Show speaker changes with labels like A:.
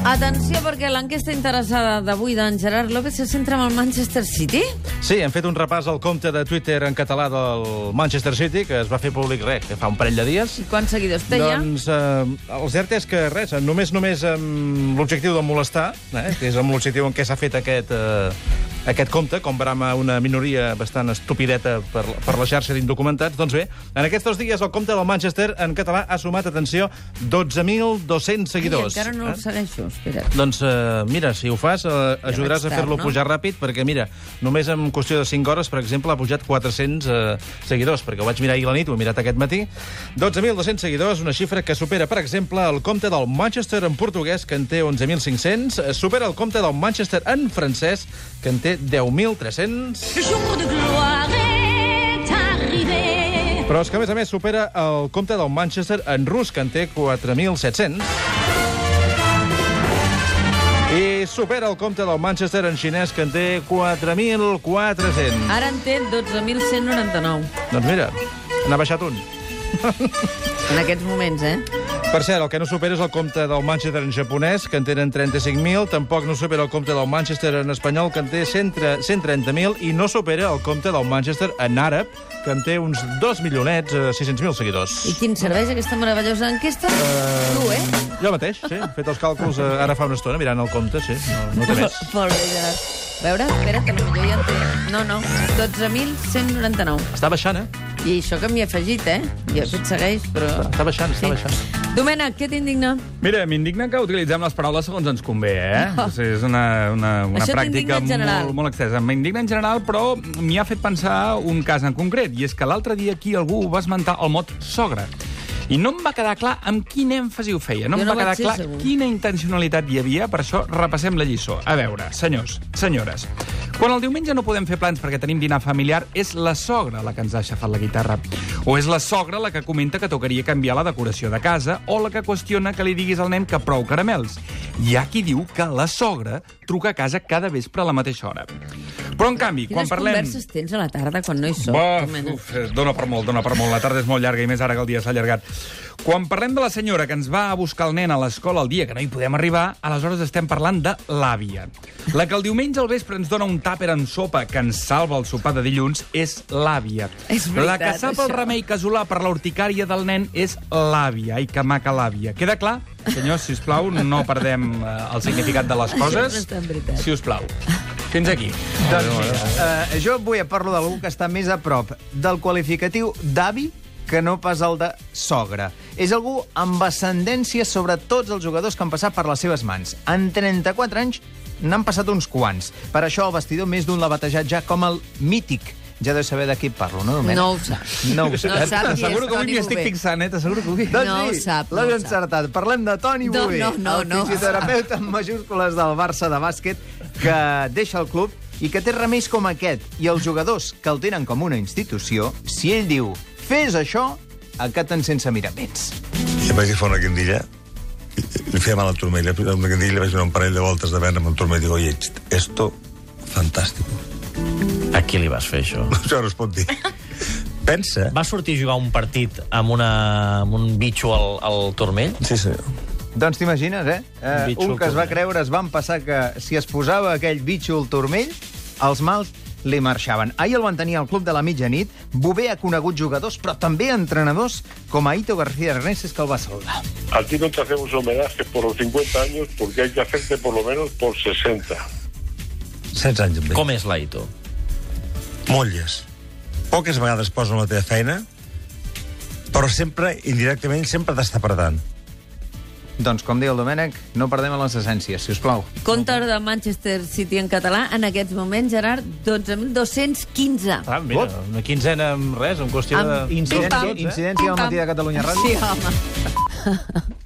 A: Atenció, perquè l'enquesta interessada d'avui d'en Gerard López se centra en el Manchester City.
B: Sí, hem fet un repàs al compte de Twitter en català del Manchester City, que es va fer públic res, que fa un parell de dies.
A: I quants seguidors té ja?
B: Doncs eh, el cert és que res, només només amb l'objectiu de molestar, eh, que és amb l'objectiu en què s'ha fet aquest, eh, aquest compte, com brama una minoria bastant estupideta per, per la xarxa d'indocumentats, doncs bé, en aquests dos dies el compte del Manchester en català ha sumat, atenció, 12.200
A: Ai,
B: seguidors.
A: encara no
B: eh?
A: el segueixo, espera.
B: Doncs eh, mira, si ho fas, eh, ajudaràs a
A: vaig tard,
B: fer-lo
A: no?
B: pujar ràpid, perquè mira, només en qüestió de 5 hores, per exemple, ha pujat 400 eh, seguidors, perquè ho vaig mirar ahir a la nit, ho he mirat aquest matí. 12.200 seguidors, una xifra que supera, per exemple, el compte del Manchester en portuguès, que en té 11.500, eh, supera el compte del Manchester en francès, que en té 10.300...
C: Le jour de gloire est arrivé.
B: Però és que, a més a més, supera el compte del Manchester en rus, que en té 4.700. I supera el compte del Manchester en xinès, que en té 4.400.
A: Ara en té 12.199,
B: Doncs mira, n'ha baixat un.
A: en aquests moments, eh?
B: Per cert, el que no supera és el compte del Manchester en japonès, que en tenen 35.000, tampoc no supera el compte del Manchester en espanyol, que en té 100 130.000, i no supera el compte del Manchester en àrab, que en té uns 2 milionets, eh, 600.000 seguidors.
A: I quin serveix aquesta meravellosa enquesta? Tu, eh?
B: Jo mateix, sí. He fet els càlculs eh, ara fa una estona, mirant el compte, sí. No, no té més.
A: Molt bé, Gerard. A veure, espera, que potser ja en té... No, no, 12.199.
B: Està baixant, eh?
A: I això que m'hi he afegit, eh? Jo que et segueix, però...
B: Està baixant, està baixant.
A: Domènec, què t'indigna?
D: Mira, m'indigna que utilitzem les paraules segons ens convé, eh? No. O sigui, és una, una, una
A: Això t'indigna
D: pràctica
A: en general.
D: molt, molt extensa. M'indigna en general, però m'hi ha fet pensar un cas en concret, i és que l'altre dia aquí algú va esmentar el mot sogra. I no em va quedar clar amb quin èmfasi ho feia. No
A: Jo
D: em
A: no vaig
D: va quedar
A: ser
D: clar
A: segur.
D: quina intencionalitat hi havia, per això repassem la lliçó. A veure, senyors, senyores, quan el diumenge no podem fer plans perquè tenim dinar familiar, és la sogra la que ens ha aixafat la guitarra. O és la sogra la que comenta que tocaria canviar la decoració de casa, o la que qüestiona que li diguis al nen que prou caramels. Hi ha qui diu que la sogra truca a casa cada vespre a la mateixa hora. Però, en canvi,
A: Quines
D: quan parlem...
A: converses tens a la tarda quan no hi soc?
D: Buf,
A: Domènec?
D: uf, eh, dona per molt, dona per molt. La tarda és molt llarga i més ara que el dia s'ha allargat. Quan parlem de la senyora que ens va a buscar el nen a l'escola el dia que no hi podem arribar, aleshores estem parlant de l'àvia. La que el diumenge al vespre ens dona un tàper en sopa que ens salva el sopar de dilluns és l'àvia.
A: És
D: La que
A: veritat,
D: sap
A: això.
D: el remei casolà per l'urticària del nen és l'àvia. Ai, que maca l'àvia. Queda clar? Senyors, si us plau, no perdem eh, el significat de les
A: Això
D: coses.
A: és tan veritat.
D: Si us plau. Fins aquí.
E: Doncs mira, eh, jo avui parlo d'algú que està més a prop del qualificatiu d'avi que no pas el de sogre. És algú amb ascendència sobre tots els jugadors que han passat per les seves mans. En 34 anys n'han passat uns quants. Per això el vestidor més d'un l'ha batejat ja com el mític. Ja deus saber de qui parlo, no, Domènec?
A: No ho saps.
E: No ho
A: No ho
E: saps.
A: saps. Toni
D: T'asseguro que avui
A: Toni
D: m'hi estic
A: Bové.
D: fixant, eh? T'asseguro que avui...
A: No
E: Doncs
A: ho
E: sí,
A: sap, no
E: l'has
A: ho sap.
E: encertat. Parlem de Toni
A: No,
E: Bové,
A: no, no,
E: el
A: no.
E: fisioterapeuta amb majúscules del Barça de bàsquet que deixa el club i que té remeis com aquest. I els jugadors que el tenen com una institució, si ell diu fes això, acaten sense miraments.
F: I vaig agafar una guindilla, i- i li feia mal al turmell, eh? amb la guindilla vaig donar un parell de voltes de vena amb el turmell i dic, oye, txt, esto, fantàstico.
G: A qui li vas fer això?
F: Això no es pot dir. Pensa.
G: Va sortir a jugar un partit amb, una, amb un bitxo al, al turmell?
F: Sí, senyor.
E: Doncs t'imagines, eh? eh
G: Bitxo
E: un
G: al
E: que es va
G: turmell.
E: creure es van passar que si es posava aquell bitxo al turmell, els mals li marxaven. Ahir el van tenir al club de la mitjanit. Bové ha conegut jugadors, però també entrenadors, com a Ito García Hernández, que el va saludar.
H: A ti no te hacemos homenaje por los 50 años porque hay que hacerte por lo menos por 60.
F: 16 anys amb ell.
G: Com és l'Aito?
F: Molles. Poques vegades poso la teva feina, però sempre, indirectament, sempre t'està perdant.
E: Doncs, com diu el Domènec, no perdem les essències, si us plau.
A: Compte de Manchester City en català, en aquests moments, Gerard, 12.215.
B: Ah, mira, una quinzena amb res, en qüestió
A: Amb
B: de...
A: incidència-
B: dos minuts, eh?
E: incidència al matí de Catalunya Ràdio.
A: Sí, home.